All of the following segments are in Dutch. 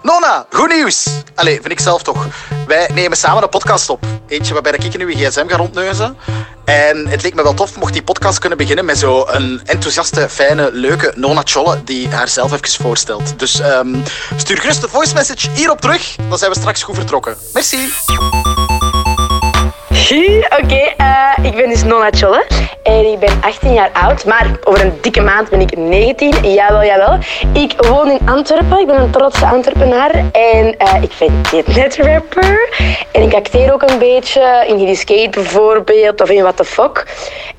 Ja, goed nieuws. Allee, vind ik zelf toch. Wij nemen samen een podcast op. Eentje waarbij ik in uw gsm ga rondneuzen. En het leek me wel tof mocht die podcast kunnen beginnen met zo'n enthousiaste, fijne, leuke Nona Cholle die haarzelf even voorstelt. Dus ehm, stuur gerust een voice message hierop terug. Dan zijn we straks goed vertrokken. Merci. Oké, eh, ik ben dus Nona Tjolle en ik ben 18 jaar oud, maar over een dikke maand ben ik 19. Jawel, jawel. Ik woon in Antwerpen, ik ben een trotse Antwerpenaar en eh, ik vind dit net rapper. En ik acteer ook een beetje in Hilly Skate bijvoorbeeld of in What the Fuck.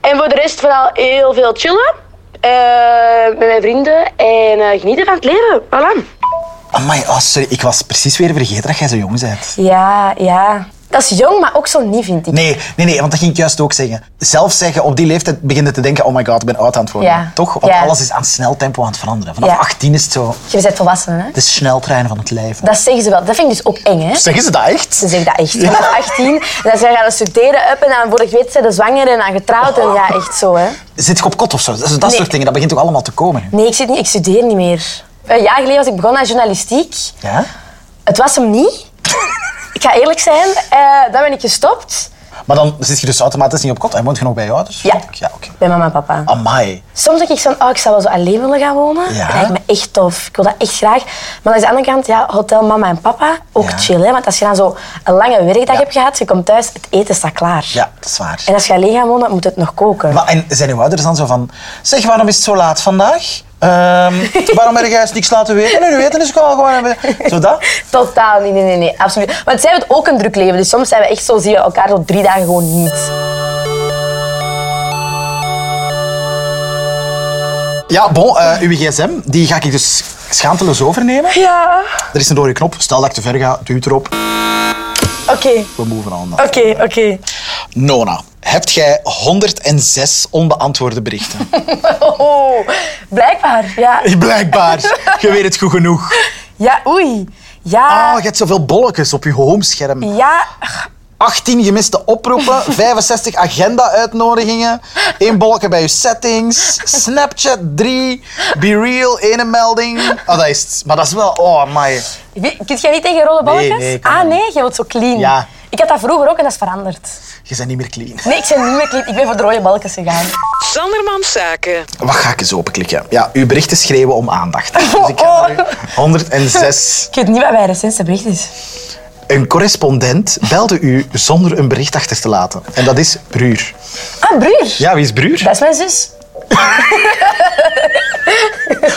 En voor de rest vooral heel veel chillen eh, met mijn vrienden en eh, genieten van het leven. Voilà. Amai, oh, sorry. Ik was precies weer vergeten dat jij zo jong bent. Ja, ja. Dat is jong, maar ook zo niet, vind ik. Nee, nee, nee, want dat ging ik juist ook zeggen. Zelf zeggen, op die leeftijd beginnen te denken, oh my god, ik ben oud aan het worden. Ja. Toch? Want Ja. alles is aan snel tempo aan het veranderen. Vanaf Ja. 18 is het zo, Je bent volwassen, hè? de sneltrein van het leven. Dat zeggen ze wel. Dat vind ik dus ook eng, hè? Zeggen ze dat echt? Ze zeggen dat echt. Vanaf 18, dan zijn ze gaan studeren, up en dan voor ik weet zijn ze zwanger en dan getrouwd. En ja, echt zo, hè? Zit je op kot of zo? Dat, dat Nee. soort dingen, dat begint toch allemaal te komen. Nee, ik, zit niet, ik studeer niet meer. Een jaar geleden was ik begonnen aan journalistiek. Ja? Het was hem niet. Ik ga eerlijk zijn, eh, dan ben ik gestopt Maar dan zit je dus automatisch niet op kot en woont je nog bij je ouders? Ja. Ja, oké. bij mama en papa. Amai. Soms denk ik zo, oh, ik zou wel zo alleen willen gaan wonen. Ja. Dat lijkt me echt tof. Ik wil dat echt graag. Maar aan de andere kant, ja, hotel mama en papa, ook Ja. chill. Hè? Want als je dan zo een lange werkdag Ja. hebt gehad, je komt thuis, het eten staat klaar. Ja, dat is waar. En als je alleen gaat wonen, moet het nog koken. Maar, en zijn uw ouders dan zo van, zeg, waarom is het zo laat vandaag? Ehm, waarom heb jij eens niks laten weten? Nee, nu weten is gewoon gewoon... Zo dat? Totaal niet, nee, nee, nee, absoluut. Want zij hebben ook een druk leven, dus soms zijn we echt zo, zie je elkaar zo drie dagen gewoon niet. Ja, bon, eh, uw gsm, die ga ik dus schaamteloos overnemen. Ja. Er is een dode knop. Stel dat ik te ver ga, duwt erop. Oké, We moeven aan. oké, oké. Nona, hebt jij 106 onbeantwoorde berichten? Oh, blijkbaar, ja. Blijkbaar. Je weet het goed genoeg. Ja, oei. Ah, Ja, je hebt zoveel bolletjes op je homescherm. ja. 18 gemiste oproepen, 65 agenda-uitnodigingen, één bolletje bij je settings, Snapchat 3, Be Real, ene melding. Ah, dat is het. Maar dat is wel... Oh, my. Wie- Kun jij niet tegen rolle balletjes? nee, ik kan ah, dat nee, je wilt zo clean. Ja. Ik had dat vroeger ook en dat is veranderd. Je bent niet meer clean. Nee, ik ben niet meer clean. Ik ben voor de rode balkjes gegaan. Sandermans Zaken. Wat ga ik eens openklikken? Ja, uw berichten schreeuwen om aandacht. Dus ik Oh. ga nu 106. Ik weet niet wat mijn recentste bericht is. Een correspondent belde u zonder een bericht achter te laten. En dat is Bruur. Ah, broer. Ja, wie is Bruur? Dat is mijn zus.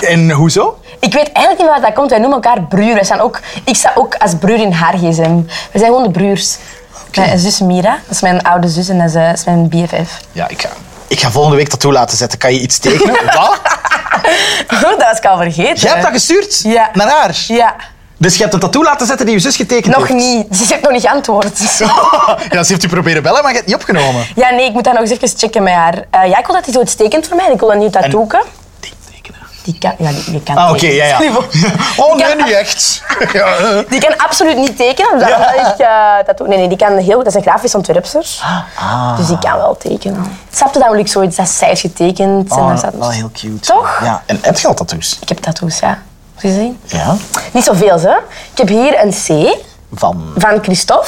En hoezo? Ik weet eigenlijk niet waar dat komt. Wij noemen elkaar broer. Wij zijn ook, ik sta ook als broer in haar gsm. We zijn gewoon de broers. Mijn zus Mira, dat is mijn oude zus en dat is, eh, is mijn BFF. Ja, ik ga, ik ga volgende week dat toe laten zetten. Kan je iets tekenen? Wat? Oh, dat was ik al vergeten. Jij hebt dat gestuurd? Ja. Naar haar? Ja, Dus je hebt een tattoo laten zetten die je zus getekend nog heeft? Oh, niet. Ze heeft nog niet geantwoord. ja, ze heeft u proberen bellen, maar je hebt niet opgenomen. Ja, nee, ik moet dat nog eens even checken met haar. Eh, ja, ik wil dat hij zoiets tekent voor mij. Ik wil dat nieuw tattooken. Die tekenen. Die kan... Ja, die, die kan Ah, oké, tekenen. ja, ja. Oh, Ik nee, kan- niet echt. Ja, eh. Die kan absoluut niet tekenen, omdat Ja. ik eh, dat doe. Nee, nee, die kan heel goed. Dat is een grafisch ontwerpster. Ah, Dus die kan wel tekenen. Snapte dat ik zoiets dat zij heeft getekend? en daar Oh, staat... wel heel cute. Toch? Ja, en heb je al tattoos? Ik heb tattoos, ja. Moet je zien? Ja. Niet zoveel, hè. Ik heb hier een C Van, van Christophe.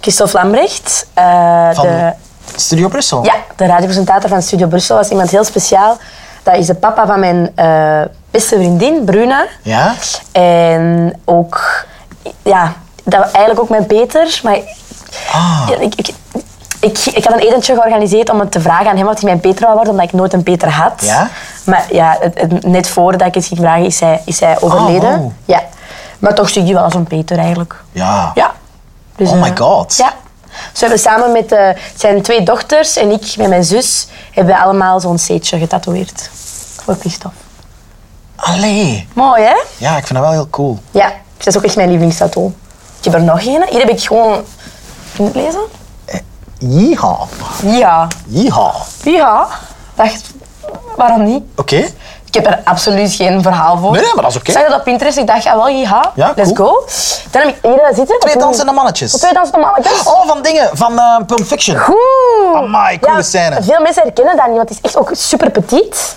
Christophe Lambrecht. eh, van de, Studio Brussel? ja, de radiopresentator van Studio Brussel was iemand heel speciaal. Dat is de papa van mijn eh, beste vriendin, Bruna. Ja? En ook, ja, dat was eigenlijk ook met Peter. Maar Ah. ik, ik, ik, ik had een etentje georganiseerd om het te vragen aan hem wat hij mijn Peter wou worden, omdat ik nooit een Peter had. Ja? Maar ja, het, het- net voordat ik het ging vragen, is hij, is hij overleden. Oh, wow. Ja. Maar toch zie je wel als een Peter eigenlijk. Ja. Ja. Dus, Oh my eh, God. Ja. Dus we hebben samen met eh, zijn twee dochters en ik met mijn zus hebben we allemaal zo'n seetje getatoeëerd. Voor Christophe. Allee. Mooi, hè? Ja, ik vind dat wel heel cool. Ja, dat is ook echt mijn lievelingstattoo. Ik heb er nog een. Hier heb ik gewoon... Kun je het lezen? Yeehaw. Ja. Yeehaw. Ja. Dacht, waarom niet? Oké. Ik heb er absoluut geen verhaal voor. Nee, nee, maar dat is oké. Ik zag dat op Pinterest. Ik dacht, ja wel, ja, Ja, let's cool. go. Dan heb ik hier dat zitten. Twee Dat doen we. dansende mannetjes. Twee dansende mannetjes. Oh, van dingen. Van eh, Pulp Fiction. Oeh. Amai, coole scène. Veel mensen herkennen dat niet, want het is echt ook super petit.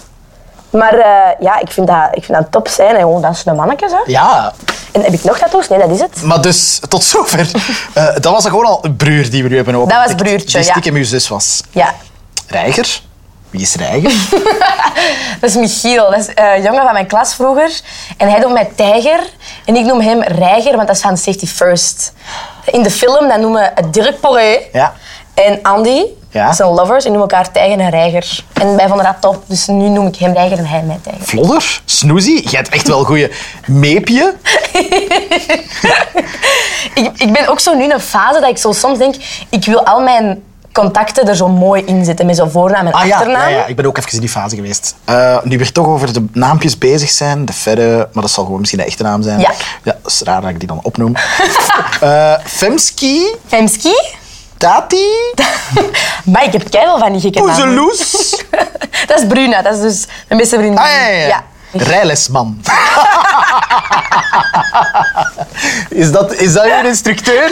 Maar eh, ja, ik vind dat, ik vind dat een top scène. Gewoon dansende mannetjes, hè. Ja. En heb ik nog tattoos? Nee, dat is het. Maar dus, tot zover. Eh, dat was gewoon al een bruur die we nu hebben open. was bruurtje, Die ja. stiekem uw zus was. Ja. Reiger? Wie is Reiger? Dat is Michiel, dat is eh, een jongen van mijn klas vroeger. En hij noemt mij Tijger en ik noem hem Reiger, want dat is van Safety First. In de film dat noemen we Dirk Poré Ja. en Andy, Ja. dat zijn lovers, en noemen elkaar Tijger en Reiger. En wij vonden dat top, dus nu noem ik hem Reiger en hij mij Tijger. Vlodder? Snoezie? Jij hebt echt wel goede meepje. Ik, ik ben ook zo nu in een fase dat ik zo soms denk, ik wil al mijn contacten er zo mooi in zetten, met zo'n voornaam en Ah ja, achternaam. ja, ja, ik ben ook even in die fase geweest. Eh, nu weer toch over de naampjes bezig zijn, de verre, maar dat zal gewoon misschien de echte naam zijn. Ja. dat is raar dat ik die dan opnoem. Eh, Femski, Femski? Tati, Maar ik heb keihard van die gekke namen. Poezeloes. Dat is Bruna, dat is dus mijn beste vriendin. Ah ja, ja, ja. Rijlesman. Is dat, is dat uw instructeur?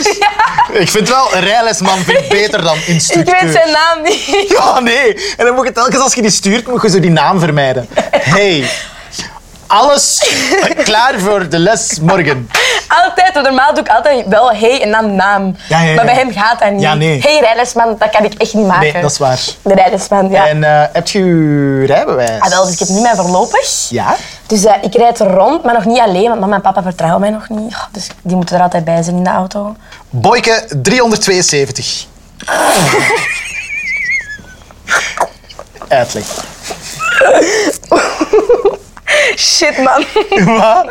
Ik vind wel, rijlesman vind ik beter dan Ik instructeur. weet zijn naam niet. Ja, nee. En dan moet je telkens als je die stuurt, moet je zo die naam vermijden. Hey. Alles klaar voor de les morgen. Altijd, want normaal doe ik altijd wel hey en dan naam. Ja, ja, ja. Maar bij hem gaat dat niet. Ja, nee. Hey rijlesman, dat kan ik echt niet maken. Nee, dat is waar. De rijlesman, ja. En eh, heb je je rijbewijs? Ah, wel, dus ik heb nu mijn voorlopig. Ja? Dus eh, ik rijd er rond, maar nog niet alleen, want mama en papa vertrouwen mij nog niet. Oh, Dus die moeten er altijd bij zijn in de auto. Boyke 372. Uitleg. Shit, man. Wat?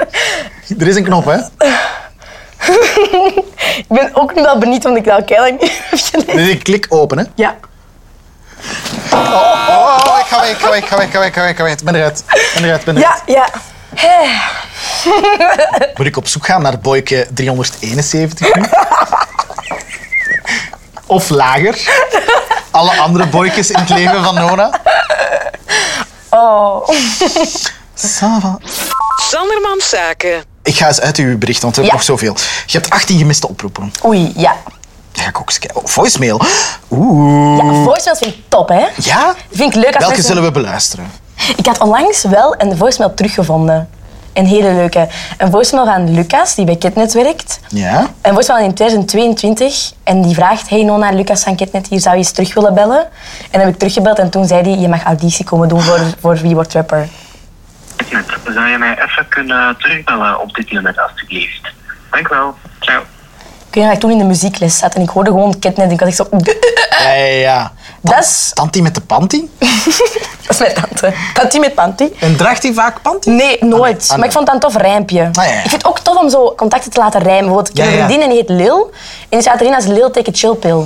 Er is een knop, hè? ik ben ook nu wel benieuwd, want ik dat keihard niet heb gelezen. Dus ik klik open, hè? Ja. Oh, oh, oh, ik ga weg, ik ga weg, ik ga weg, ik ga weg, ik ga weg, ik ga weg. Ik ben eruit, ik ben eruit, ik ben eruit. Ja, ja. Moet ik op zoek gaan naar boyke 371 nu? Of lager? Alle andere boykes in het leven van Nona? Oh. Sava. Sanderman Zaken. Ik ga eens uit uw bericht, want we hebben Ja. nog zoveel. Je hebt 18 gemiste oproepen. Oei, ja. Dat ga ik ook eens kijken. Oh, voicemail. Oeh. Ja, voicemails vind ik top, hè. Ja? Vind ik leuk als Welke mensen- zullen we beluisteren? Ik had onlangs wel een voicemail teruggevonden. Een hele leuke. Een voicemail van Lucas, die bij Kitnet werkt. Ja? Een voicemail in 2022. En die vraagt, hey Nona, Lucas van Kitnet, hier zou je eens terug willen bellen. En dan heb ik teruggebeld en toen zei hij, je mag auditie komen doen voor, voor Wie Wordt Rapper. Net, zou je mij even kunnen terugbellen op dit nummer, alstublieft? Dank wel. Ciao. Ik weet nog dat ik toen in de muziekles zat en ik hoorde gewoon Kitnet en ik was echt zo... Ja, ja, ja. Dat is, Tanti met de panty? dat is mijn tante. Panty met panty. En draagt hij vaak panty? Nee, nooit. Ah, nee. Ah, Maar ik vond het een tof rijmpje. ja, ja. Ik vind het ook tof om zo contacten te laten rijmen. Bijvoorbeeld, ik heb Ja, ja, ja. een vriendin en die heet Lil. En die staat erin als Lil Take a Chill Pill.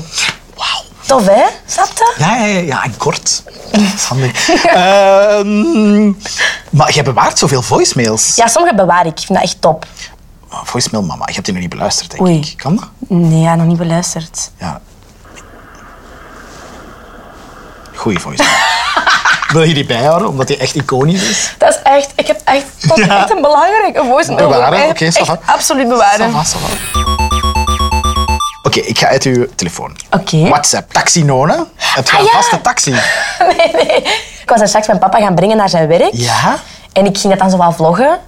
Wauw. Tof, hè? Snap je? Ja, ja, ja, ja, en kort. Dat is handig. Ehm, maar jij bewaart zoveel voicemails. Ja, sommige bewaar ik. Ik vind dat echt top. Oh, Voicemail mama, je hebt die nog niet beluisterd, denk Oei. ik. Kan dat? Nee, ja, nog niet beluisterd. Ja. Goeie voicemail. Wil je die bijhouden, omdat die echt iconisch is? Dat is echt... Ik heb echt... Dat is Ja. echt een belangrijke voicemail. Bewaren, Ik heb oké, ça echt va. Absoluut bewaren. Ça va, ça va. Oké, ik ga uit uw telefoon. Oké. WhatsApp, taxi Nona. Heb je Ah, een ja. vaste taxi? Nee, nee. Ik was daar straks mijn papa gaan brengen naar zijn werk. Ja? En ik ging dat dan zo wel vloggen.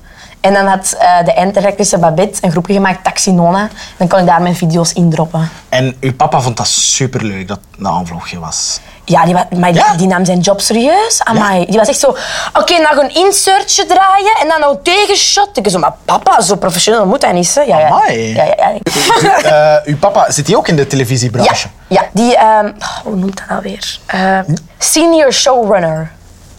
En dan had eh, de eindredactrice Babette een groepje gemaakt, Taxinona. En dan kon ik daar mijn video's indroppen. En uw papa vond dat superleuk dat dat een vlogje was. Ja, die, wa- maar die- Ja? die, nam zijn job serieus. Amai. Die was echt zo... Oké, nou een insertje draaien en dan nou tegenshot. Ik zo, maar papa, zo professioneel moet hij niet, hè? Ja, ja. Amai. Ja, ja, ja. Eh, uw papa, zit hij ook in de ja, televisiebranche? ja. Die... ehm, oh, hoe noemt dat nou weer? Eh, Hm? senior showrunner.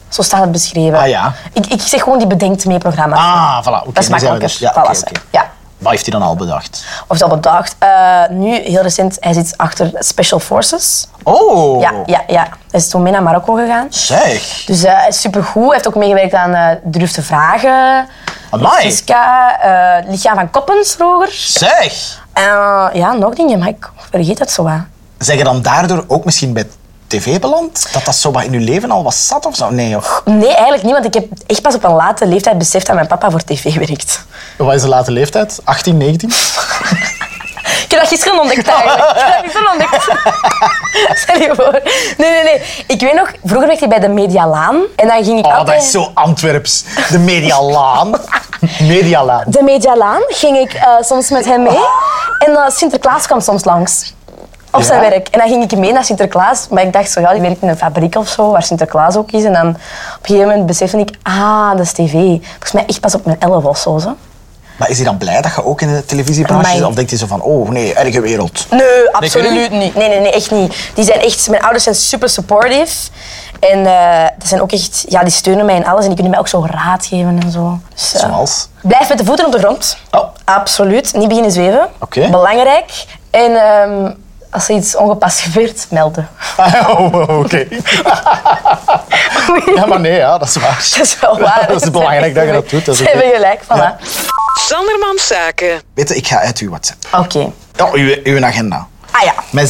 Zo staat het beschreven. Ah, ja. Ik, ik zeg gewoon, die bedenkt mee programma's. Ah, voilà. oké, dat is nu zijn we makkelijker. er. Ja, Voilà, oké, ze. oké. ja. Wat heeft hij dan al bedacht? Of dat bedacht. Eh, nu, heel recent, hij zit achter Special Forces. Oh, Ja, ja, ja. Hij is toen mee naar Marokko gegaan. zeg. Dus eh, hij is supergoed. Hij heeft ook meegewerkt aan eh, Durf te Vragen. Amai. Siska, eh, Lichaam van Koppens vroeger. Zeg. En eh, ja, nog dingen, maar ik vergeet het zo wat. Zeg je dan daardoor ook misschien bij tv beland? Dat dat zo wat in uw leven al was zat of zo? Nee, joh. Nee, eigenlijk niet, want ik heb echt pas op een late leeftijd beseft dat mijn papa voor tv werkt. Wat is de late leeftijd? 18, 19? Ik heb dat gisteren ontdekt eigenlijk. Ik heb dat gisteren ontdekt. Stel je voor. Nee, nee, nee. Ik weet nog, vroeger werkte ik bij de Medialaan. En dan ging ik Oh, altijd... dat is zo Antwerps. De Medialaan. Medialaan. de Medialaan ging ik eh, soms met hem mee. En eh, Sinterklaas kwam soms langs. Op zijn Ja? werk. En dan ging ik mee naar Sinterklaas. Maar ik dacht zo, ja, die werkt in een fabriek of zo, waar Sinterklaas ook is. En dan op een gegeven moment besefte ik, ah, dat is tv. Volgens mij echt pas op mijn 11 of zo. zo. Maar is hij dan blij dat je ook in de televisiebranche zit? Amai. Of denkt hij zo van, oh nee, erge wereld. Nee, absoluut kunnen niet? niet. Nee, nee, nee, echt niet. Die zijn echt, mijn ouders zijn super supportive. En eh, dat zijn ook echt, ja, die steunen mij in alles en die kunnen mij ook zo raad geven en zo. Dus, eh, Zoals? Blijf met de voeten op de grond. Oh. Absoluut. Niet beginnen zweven. Oké. Belangrijk. En ehm, als er iets ongepast gebeurt, melden. Oh, oké. ja, maar nee, ja, dat is waar. Dat is wel waar. Dat is belangrijk dat je dat doet. Dat is Ze oké. hebben gelijk, voilà. Ja. Sanderman Zaken. Weet je, ik ga uit uw WhatsApp. Oké. Ja, uw, uw agenda. Ah ja. Met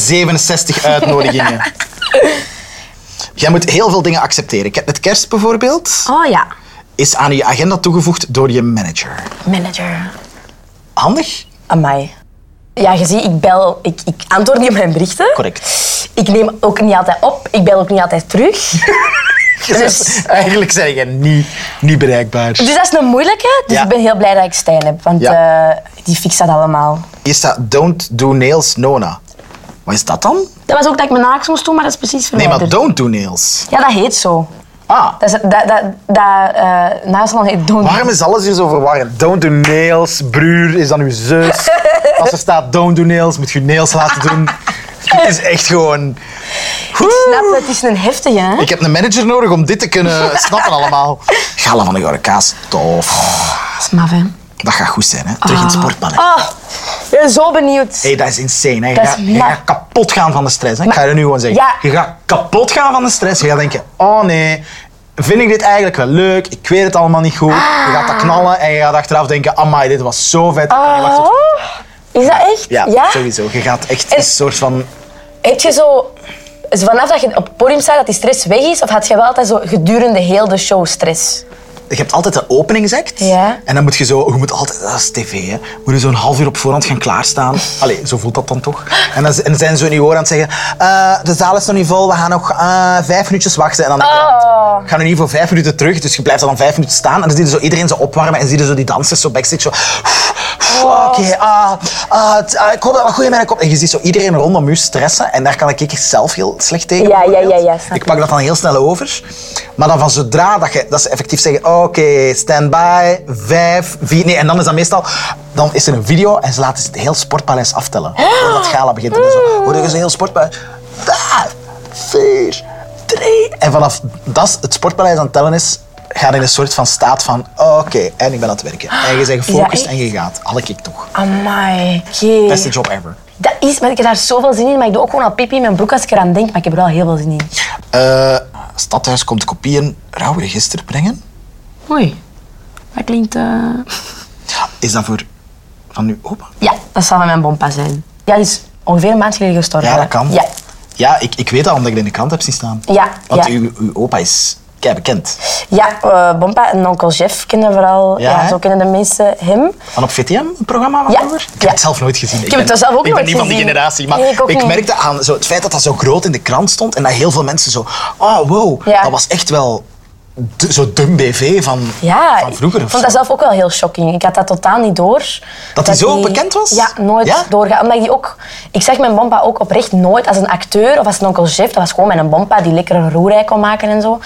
67 uitnodigingen. Jij moet heel veel dingen accepteren. Ke- Het kerst bijvoorbeeld Oh ja. is aan je agenda toegevoegd door je manager. Manager. Handig? Amai. Ja, je ziet, ik bel, ik, ik antwoord niet op mijn berichten. Correct. Ik neem ook niet altijd op. Ik bel ook niet altijd terug. Dus- Eigenlijk zijn jij niet, niet bereikbaar. Dus dat is een moeilijke. Dus Ja. ik ben heel blij dat ik Stijn heb. Want Ja. eh, die fixt dat allemaal. Hier staat don't do nails, Nona. Wat is dat dan? Dat was ook dat ik mijn naaks moest doen, maar dat is precies Nee, verwijderd. maar don't do nails. Ja, dat heet zo. Ah, Dat, is, dat, dat, dat eh, nagelsalon heet Don. waarom is alles hier zo verwarrend? Don't do nails, broer is dan uw zus. Als er staat don't do nails, moet je je nails laten doen. Het is echt gewoon... Ik snap dat, het is een heftige, hè? Ik heb een manager nodig om dit te kunnen snappen allemaal. Gala van de Gouden Kaas, tof. Dat is maf, hè? Dat gaat goed zijn, hè? Terug in het sportballet. Oh, ik ben zo benieuwd. Hé, dat is insane. Hè. Je, Dat is gaat, je ma- gaat kapot gaan van de stress. Hè. Ik ga je nu gewoon zeggen. Ja. Je gaat kapot gaan van de stress. Je gaat denken, oh nee, vind ik dit eigenlijk wel leuk? Ik weet het allemaal niet goed. Je gaat Ah. dat knallen en je gaat achteraf denken, amai, dit was zo vet. En je wacht op- Oh, is dat echt? ja, sowieso. Je gaat echt En- een soort van... Heb je zo... is Vanaf dat je op het podium staat, dat die stress weg is? Of had je wel altijd zo gedurende heel de show stress? Je hebt altijd de openingsact. Ja. En dan moet je zo... Je moet altijd... Dat is tv, hè. Moet je zo'n half uur op voorhand gaan klaarstaan. Allee, zo voelt dat dan toch. En dan z- en zijn ze in je oor aan het zeggen... eh, de zaal is nog niet vol. We gaan nog eh, vijf minuutjes wachten. En dan denk je, Oh. Ik ga nu niet voor vijf minuten terug, dus je blijft dan vijf minuten staan. En dan zie je zo iedereen zo opwarmen en zie je zo die dansers zo backstage zo... Oké, ah, ah, het- ah, ik hoop dat wel goed in mijn kop... En je ziet zo iedereen rondom u stressen en daar kan ik echt zelf heel slecht tegen. Ja, ja, ja, ja, bijvoorbeeld. snap Ik pak dat dan heel snel over. Maar dan van zodra dat, je, dat ze effectief zeggen... "Oh, Oké, stand-by, vijf, vier... Nee, en dan is dat meestal... Dan is er een video en ze laten het heel sportpaleis aftellen. Voordat gala begint. En dan zo, hoor je zo heel sportpaleis... Vijf, vier, drie. En vanaf dat het sportpaleis aan het tellen is, gaat in een soort van staat van "Oh, oké, en ik ben aan het werken. En je bent gefocust echt? en je gaat. Had ik toch. Amai. Jee. Beste job ever. Dat is, maar ik heb daar zoveel zin in. Maar ik doe ook gewoon al pipi in mijn broek als ik eraan denk. Maar ik heb er wel heel veel zin in. Eh, Stadhuis komt kopieën rouwregister brengen. Oei. Dat klinkt... eh, Is dat voor van nu opa? Ja, dat zal van mijn bompa zijn. Ja, die is ongeveer een maand geleden gestorven. Ja, dat kan. Ja. Ja, ik, ik weet dat omdat ik het in de krant heb zien staan. Ja, Want ja. Uw, uw opa is kei bekend. Ja, eh, Bompa en onkel Jeff kennen vooral, Ja, ja, hè? zo kennen de mensen hem. En op VTM, een programma van Ja, vroeger? Ik heb ja. het zelf nooit gezien. Ik, heb het zelf ook ik nooit ben niet van die gezien. generatie. Maar Nee, ik ook niet. merkte aan zo, het feit dat dat zo groot in de krant stond en dat heel veel mensen zo... Oh, wow, Ja. dat was echt wel de, zo dum BV van, Ja, van vroeger. ik of vond zo. dat zelf ook wel heel shocking. Ik had dat totaal niet door. Dat hij zo bekend was? Ja, nooit Ja? doorgaan. Omdat ik die ook... Ik zag mijn bompa ook oprecht nooit als een acteur of als een onkel Jeff. Dat was gewoon mijn bompa die lekker een roerij kon maken en zo.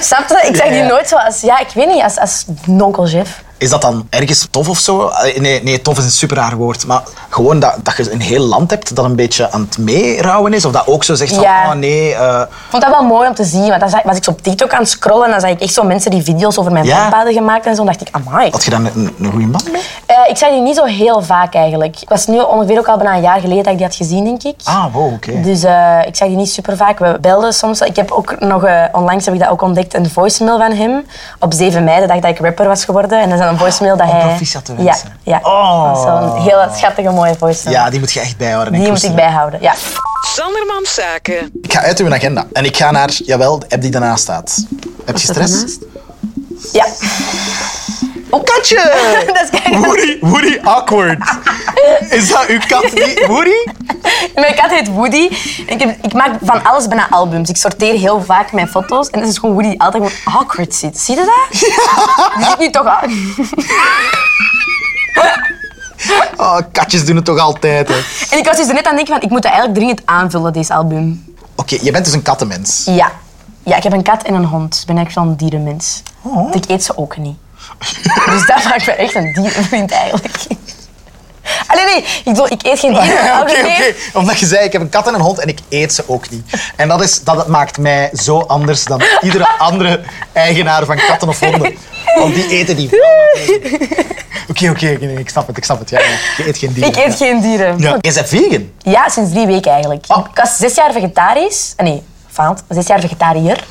Snap je? Ik zag die Ja, ja. nooit zo als... Ja, ik weet niet, als, als een onkel Jeff. Is dat dan ergens tof of zo? Eh, Nee, nee tof is een super raar woord. Maar gewoon dat, dat je een heel land hebt dat een beetje aan het meerouwen is. Of dat ook zo zegt van, Ja. oh nee... eh, Ik vond dat wel mooi om te zien, want dan zag- was ik zo op TikTok aan het scrollen en dan zag ik echt zo mensen die video's over mijn Ja. bompa hadden gemaakt en zo. Dan dacht ik, amai. had je dan een, een goede man mee? Eh, ik zag die niet zo heel vaak eigenlijk. Ik was nu ongeveer ook al bijna een jaar geleden dat ik die had gezien, denk ik. Ah, wow, oké. Dus eh, ik zag die niet super vaak. We belden soms. Ik heb ook nog, eh, onlangs heb ik dat ook ontdekt, een voicemail van hem. Op 7 mei, de dag dat ik rapper was geworden. En dat is dan een voicemail dat Om hij... proficiat te Ja, wensen. ja. Oh. Dat is wel een heel schattige, mooie voicemail. Ja, die moet je echt bijhouden. en eh, die moet ik koesteren. bijhouden, ja. Sanderman Zaken. Ik ga uit uw agenda en ik ga naar, jawel, de app die daarnaast staat. Heb je stress? Ja. Oh, katje! dat is kijk. Woody, Woody awkward. Is dat uw kat die Woody? Mijn kat heet Woody. En ik, heb- ik maak van alles bijna albums. Ik sorteer heel vaak mijn foto's. En dat is gewoon Woody die altijd gewoon awkward zit. Zie je dat? Die zit nu toch aan. Oh, katjes doen het toch altijd, hè? En ik was dus net aan het denken van, ik moet dat eigenlijk dringend aanvullen, deze album. Oké, je bent dus een kattenmens. Ja. Ja, ik heb een kat en een hond. Ik ben eigenlijk wel een dierenmens. Oh. Want ik eet ze ook niet. Dus dat maakt me echt een dierenvriend eigenlijk. Allee, nee. Ik, bedoel, ik eet geen dieren. Ah, Oké, nee. oké. Omdat je zei, ik heb een kat en een hond en ik eet ze ook niet. En dat, is, dat maakt mij zo anders dan iedere andere eigenaar van katten of honden. Want die eten die wel. natuurlijk. Oké, oké, oké, nee, ik snap het, ik snap het. Ja, ja. Je eet geen dieren. Ik eet geen dieren. Ja. Je bent vegan. Ja, sinds drie weken eigenlijk. Oh. Ik was zes jaar vegetarisch. Ah, Nee, faalt. Zes jaar vegetariër.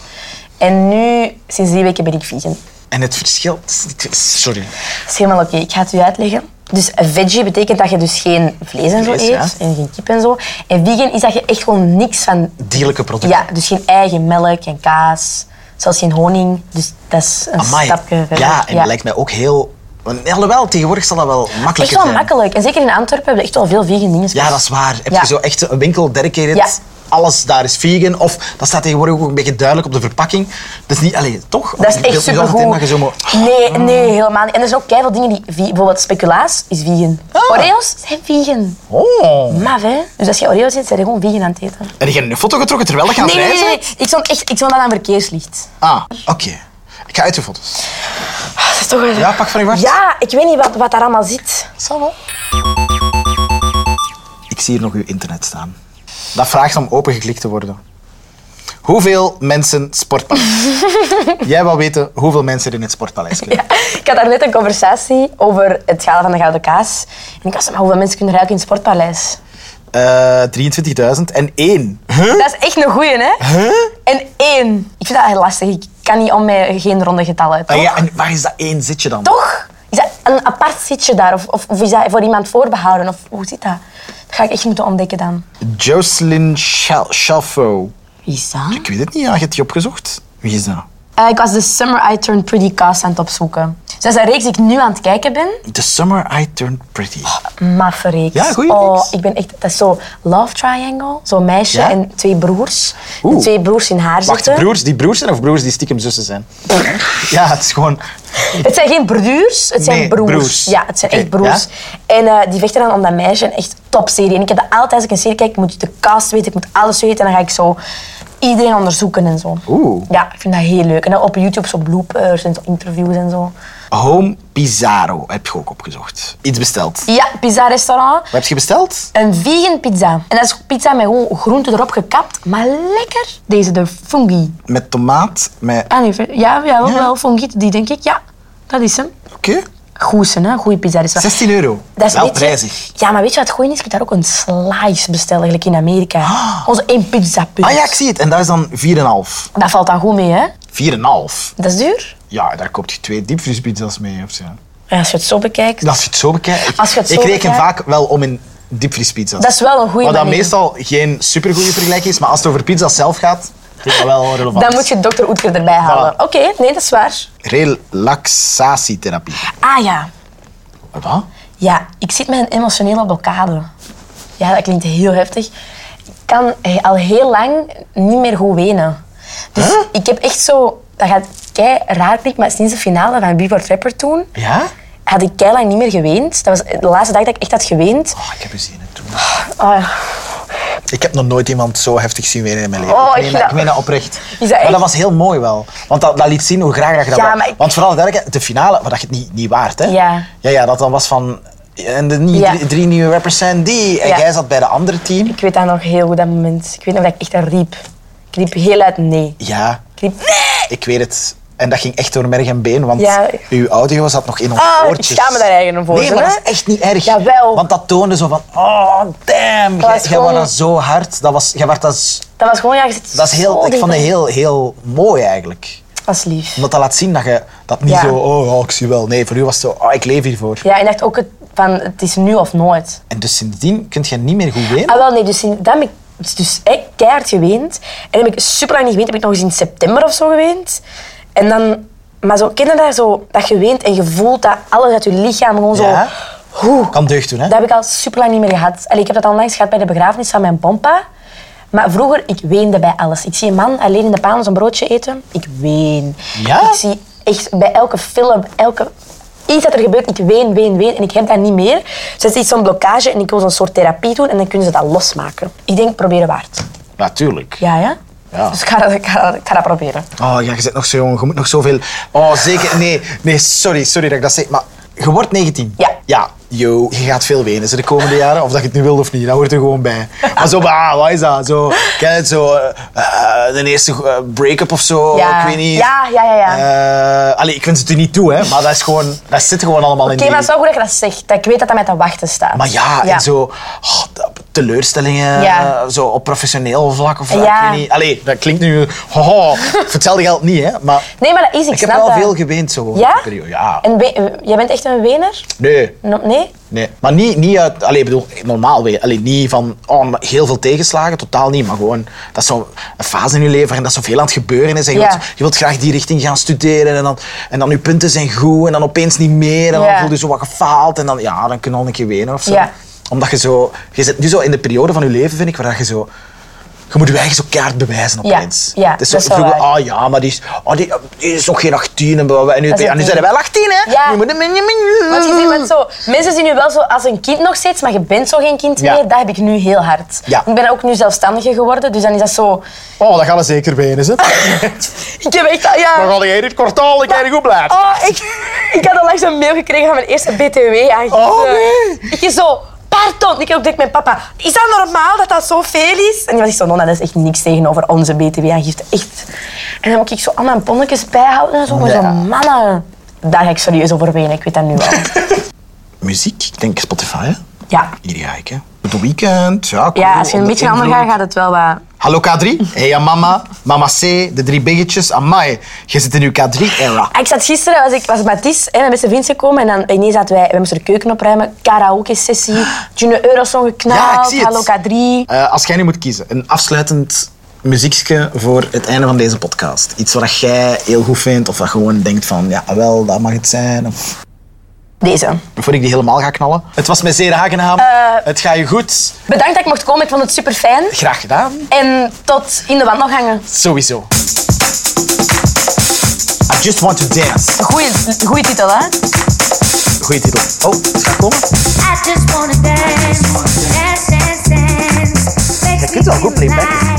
En nu, sinds drie weken ben ik vegan. En het verschil... het is niet- Sorry. Dat is helemaal oké. Ik ga het u uitleggen. Dus veggie betekent dat je dus geen vlees en zo Vlees, eet. ja. En geen kip en zo. En vegan is dat je echt gewoon niks van... Dierlijke producten. Ja, dus geen eigen melk en kaas. Zelfs geen honing. Dus dat is een Amai. stapje verder. Ja, en dat lijkt mij ook heel... Alhoewel, tegenwoordig zal dat wel makkelijker Echt wel zijn. makkelijk. En zeker in Antwerpen hebben we echt wel veel vegan dingen. Ja, dat is waar. Heb Ja. je zo echt een winkel dedicated? Ja. Alles daar is vegan. Of dat staat tegenwoordig ook een beetje duidelijk op de verpakking. Dat is niet... Allee, toch? Dat is Je beeldt echt nu altijd in dat je supergoed. zo moet- Nee, nee, helemaal niet. En er zijn ook keihard dingen die... vi- Bijvoorbeeld speculaas is vegan. Ah. Oreos zijn vegan. Oh. Maf, hè? Dus als je Oreos eet, zijn je gewoon vegan aan het eten. Heb je een foto getrokken terwijl dat gaat Nee, nee, nee, reizen? nee. Ik stond echt ik stond aan een verkeerslicht. Ah, oké. Ik ga uit de foto's. Ah, Dat is toch wel- Ja, pak van je wacht. Ja, ik weet niet wat, wat daar allemaal zit. Ik zie hier nog uw internet staan. Dat vraagt om opengeklikt te worden. Hoeveel mensen sportpaleis? Jij wil weten hoeveel mensen er in het sportpaleis kunnen. Ik had daar net een conversatie over het gala van de Gouden Kaas. En ik was maar hoeveel mensen kunnen ruiken in het sportpaleis? Eh 23.000 en één. Huh? Dat is echt een goeie, hè? En één. Ik vind dat heel lastig. Ik kan niet om mij geen ronde getallen, toch? Ah ja, en waar is dat één zitje dan? Toch? Is dat een apart zitje daar? Of, of, of is dat voor iemand voorbehouden? Of hoe zit dat? Dat ga ik echt moeten ontdekken dan. Jocelyn Schal- Shalfo. Wie is dat? Ik weet het niet, ja. je hebt die opgezocht. Wie is dat? Eh, ik was de Summer I Turned Pretty cast aan het opzoeken. Dus dat is een reeks die ik nu aan het kijken ben. The Summer I Turned Pretty. Oh, Maffe reeks. Ja, goeie Oh, reeks. ik ben echt... Dat is zo Love Triangle. Zo'n meisje Ja? en twee broers. De Oeh. twee broers in haar Wacht, zitten. broers die broers zijn of broers die stiekem zussen zijn? ja, het is gewoon... Het zijn geen broers, het zijn Nee, broers. broers. Ja, het zijn Oké, echt broers. En eh, die vechten dan om dat meisje. Een echt topserie. En ik heb dat altijd als ik een serie kijk. Ik moet de cast weten, ik moet alles weten. En dan ga ik zo iedereen onderzoeken en zo. Oeh. Ja, ik vind dat heel leuk. En dan op YouTube zo bloopers en zo interviews en zo. Home Pizarro heb je ook opgezocht. Iets besteld. Ja, pizza restaurant. Wat heb je besteld? Een vegan pizza. En dat is pizza met gewoon groenten erop gekapt. Maar lekker. Deze, de fungi. Met tomaat, met... Ah, nee, ver- ja, ja, wel, Ja. wel fungi, die denk ik. Ja, dat is hem. Oké. Goezen, hè? Goeie pizza restaurant. 16 euro. Dat is Wel weet je- prijzig. Ja, maar weet je wat het goeie is? Je kunt daar ook een slice bestellen, gelijk in Amerika. Onze één pizza punt. Ah ja, ik zie het. En dat is dan 4,5. Dat valt dan goed mee, hè? 4,5. Dat is duur. Ja, daar koop je twee diepvriespizzas mee. Of zo. Ja, als je het zo bekijkt. Als je het zo bekijkt. Ik- Als je het zo ik reken bekijkt- vaak wel om in diepvriespizza's. Dat is wel een goeie Wat dan manier. meestal geen supergoeie vergelijking is, maar als het over pizza zelf gaat, is dat wel relevant. Dan moet je dokter Oetker erbij halen. Oké, nee, dat is waar. Relaxatietherapie. Ah ja. Wat? Ja, ik zit met een emotionele blokkade. Ja, dat klinkt heel heftig. Ik kan he- al heel lang niet meer goed wenen. Dus ik heb echt zo... Dat gaat kei raar klinken, maar sinds de finale van Wie wordt rapper toen... Ja? Had ik kei lang niet meer geweend. Dat was de laatste dag dat ik echt had geweend. Oh, ik heb u zien het doen. Oh, ja. Ah. Ik heb nog nooit iemand zo heftig zien wenen in mijn leven. Oh, ik, meen ik dat, snap- ik meen dat oprecht. dat maar echt? dat was heel mooi wel. Want dat, dat liet zien hoe graag dat je dat Ja, wou. maar ik- Want vooral duidelijk, de finale, waar dat je het niet, niet waard, hè? Ja. Ja, ja, dat dan was van... En de nie- Ja. drie, drie nieuwe rappers zijn die. En Ja. jij zat bij de andere team. Ik weet dat nog heel goed, dat moment. Ik weet nog dat ik echt aan riep. Ik riep heel uit nee. Ja, Ik riep nee! ik weet het. En dat ging echt door merg en been, want Ja. uw audio zat nog in ons Ah, ik oortjes. schaam me daar eigenlijk voor, Nee, maar hè? dat is echt niet erg. Jawel. Want dat toonde zo van, oh, damn. Jij, was jij was gewoon- dat zo hard. Dat, was, jij werd dat, z- Dat was gewoon, ja, je zit dat is zo heel, ik dicht vond het bij- heel, heel mooi eigenlijk. Dat was lief. Omdat dat laat zien dat je dat niet Ja. zo, oh, ja, ik zie wel. Nee, voor u was het zo, oh, ik leef hiervoor. Ja, en echt ook het, van, het is nu of nooit. En dus sindsdien kun je niet meer goed weten. Ah, wel, nee, dus in- dan heb ik dus echt keihard geweend. En heb ik super lang niet geweend. Heb ik nog eens in september of zo geweend. En dan... Maar zo, ken je dat zo, dat je weent en je voelt dat alles uit je lichaam gewoon Ja. zo... Oeh. Kan deugd doen, hè? Dat heb ik al super lang niet meer gehad. Allee, ik heb dat al langs gehad bij de begrafenis van mijn pompa. Maar vroeger, ik weende bij alles. Ik zie een man alleen in de paal een broodje eten. Ik ween. Ja? Ik zie echt bij elke film, elke... Iets dat er gebeurt, ik ween, ween, ween. En ik heb dat niet meer. Dus dat is iets zo'n blokkage en ik wil zo'n soort therapie doen. En dan kunnen ze dat losmaken. Ik denk, proberen waard. Natuurlijk. Ja, ja? Ja. Dus ik ga, dat- ik, ga, dat- ik ga dat proberen. Oh ja, je bent nog zo jong, je moet nog zoveel. Oh zeker, nee, nee, sorry, sorry dat ik dat zeg, maar je wordt 19. Ja. Ja, yo, je gaat veel wenen ze de komende jaren, of dat je het nu wil of niet, dat hoort er gewoon bij. Maar zo, bah, wat is dat? Zo, ken je het zo, eh, eh, de eerste eh, break-up of zo, Ja. ik weet niet. Ja, ja, ja, Eh, allee, ik wens het u niet toe, hè, maar dat is gewoon, dat zit gewoon allemaal in Oké, die- maar het is wel goed dat je dat zegt. Dat ik weet dat dat mij te wachten staat. Maar ja, en zo oh, dat- teleurstellingen Ja. eh, zo op professioneel vlak of Ja. ik weet niet. Allee, dat klinkt nu... Hoho, voor hetzelfde geld niet, hè. Maar Nee, maar dat is, ik, ik heb snap wel dat. veel geweend zo. in Ja? die periode. Ja. En we- jij bent echt een wener? Nee, No- nee? nee. Maar niet, niet uit... Allee, ik bedoel, normaal weer. Allee, niet van oh, maar heel veel tegenslagen, totaal niet. Maar gewoon, dat is zo'n fase in je leven waarin dat zoveel aan het gebeuren is. En je, Ja. wilt, je wilt graag die richting gaan studeren en dan, en dan je punten zijn goed en dan opeens niet meer. En dan Ja. voel je zo wat gefaald en dan, ja, dan kun je al een keer wenen of zo. Ja. Omdat je zo... Je zit nu zo in de periode van je leven, vind ik, waar dat je zo... Je moet je eigen zo kaart bewijzen Ja, opeens. ja, Het is zo, dat is wel vroeger, waar. ah ja, maar die is, ah, die, die is nog geen 18 en, bla, bla, bla. en nu, Dat is ja, het nu ding. zijn we wel 18 hè. Ja. Nu moet je- Want je ziet, want zo, mensen zien je wel zo als een kind nog steeds, maar je bent zo geen kind Ja. meer. Dat heb ik nu heel hard. Ja. Ik ben ook nu zelfstandige geworden, dus dan is dat zo... Oh, dat gaan we zeker wenen, ze. Ik heb echt... al- Ja. Dan ga jij dit kwartaal een keer goed blijven. Oh, ik, ik had al langs een mail gekregen van mijn eerste BTW-aangifte. Oh, nee. Ik is zo... Pardon, ik heb ook direct mijn papa. Is dat normaal dat dat zoveel is? En die was echt zo, Nonna, dat is echt niks tegenover onze btw-aangifte. Echt. En dan moet ik zo al mijn ponnetjes bijhouden en zo. Maar Ja. zo, mannen, daar ga ik serieus over wenen. Ik weet dat nu wel. Muziek, ik denk Spotify. Hè? Ja. Hier ga ik, hè. Het weekend, ja, cool, Ja, als je een onder beetje ander invloed. gaat, gaat het wel wat... Hallo K3, hey ja, mama, mama C, de drie biggetjes, amai. Je zit in uw K3-era. Ah, Ik zat gisteren, was ik was met Tis en mijn beste vriend gekomen en dan ineens zaten wij, wij moesten de keuken opruimen, karaoke-sessie, June Eurosong Ja, ik geknald, zie het. Hallo K3. Eh, als jij nu moet kiezen, een afsluitend muziekje voor het einde van deze podcast. Iets wat jij heel goed vindt of wat gewoon denkt van, ja, wel, dat mag het zijn. Of, Deze. voor ik die helemaal ga knallen. Het was met zeer aangenaam. Eh, het gaat je goed. Bedankt dat ik mocht komen, ik vond het super fijn. Graag gedaan. En tot in de wandelgangen. Sowieso. I just want to dance. Goeie, goeie titel, hè? Goeie titel. Oh, het gaat komen. I just wanna dance, dance, dance, dance. Makes kunt wel goed playbacken. me feel alive.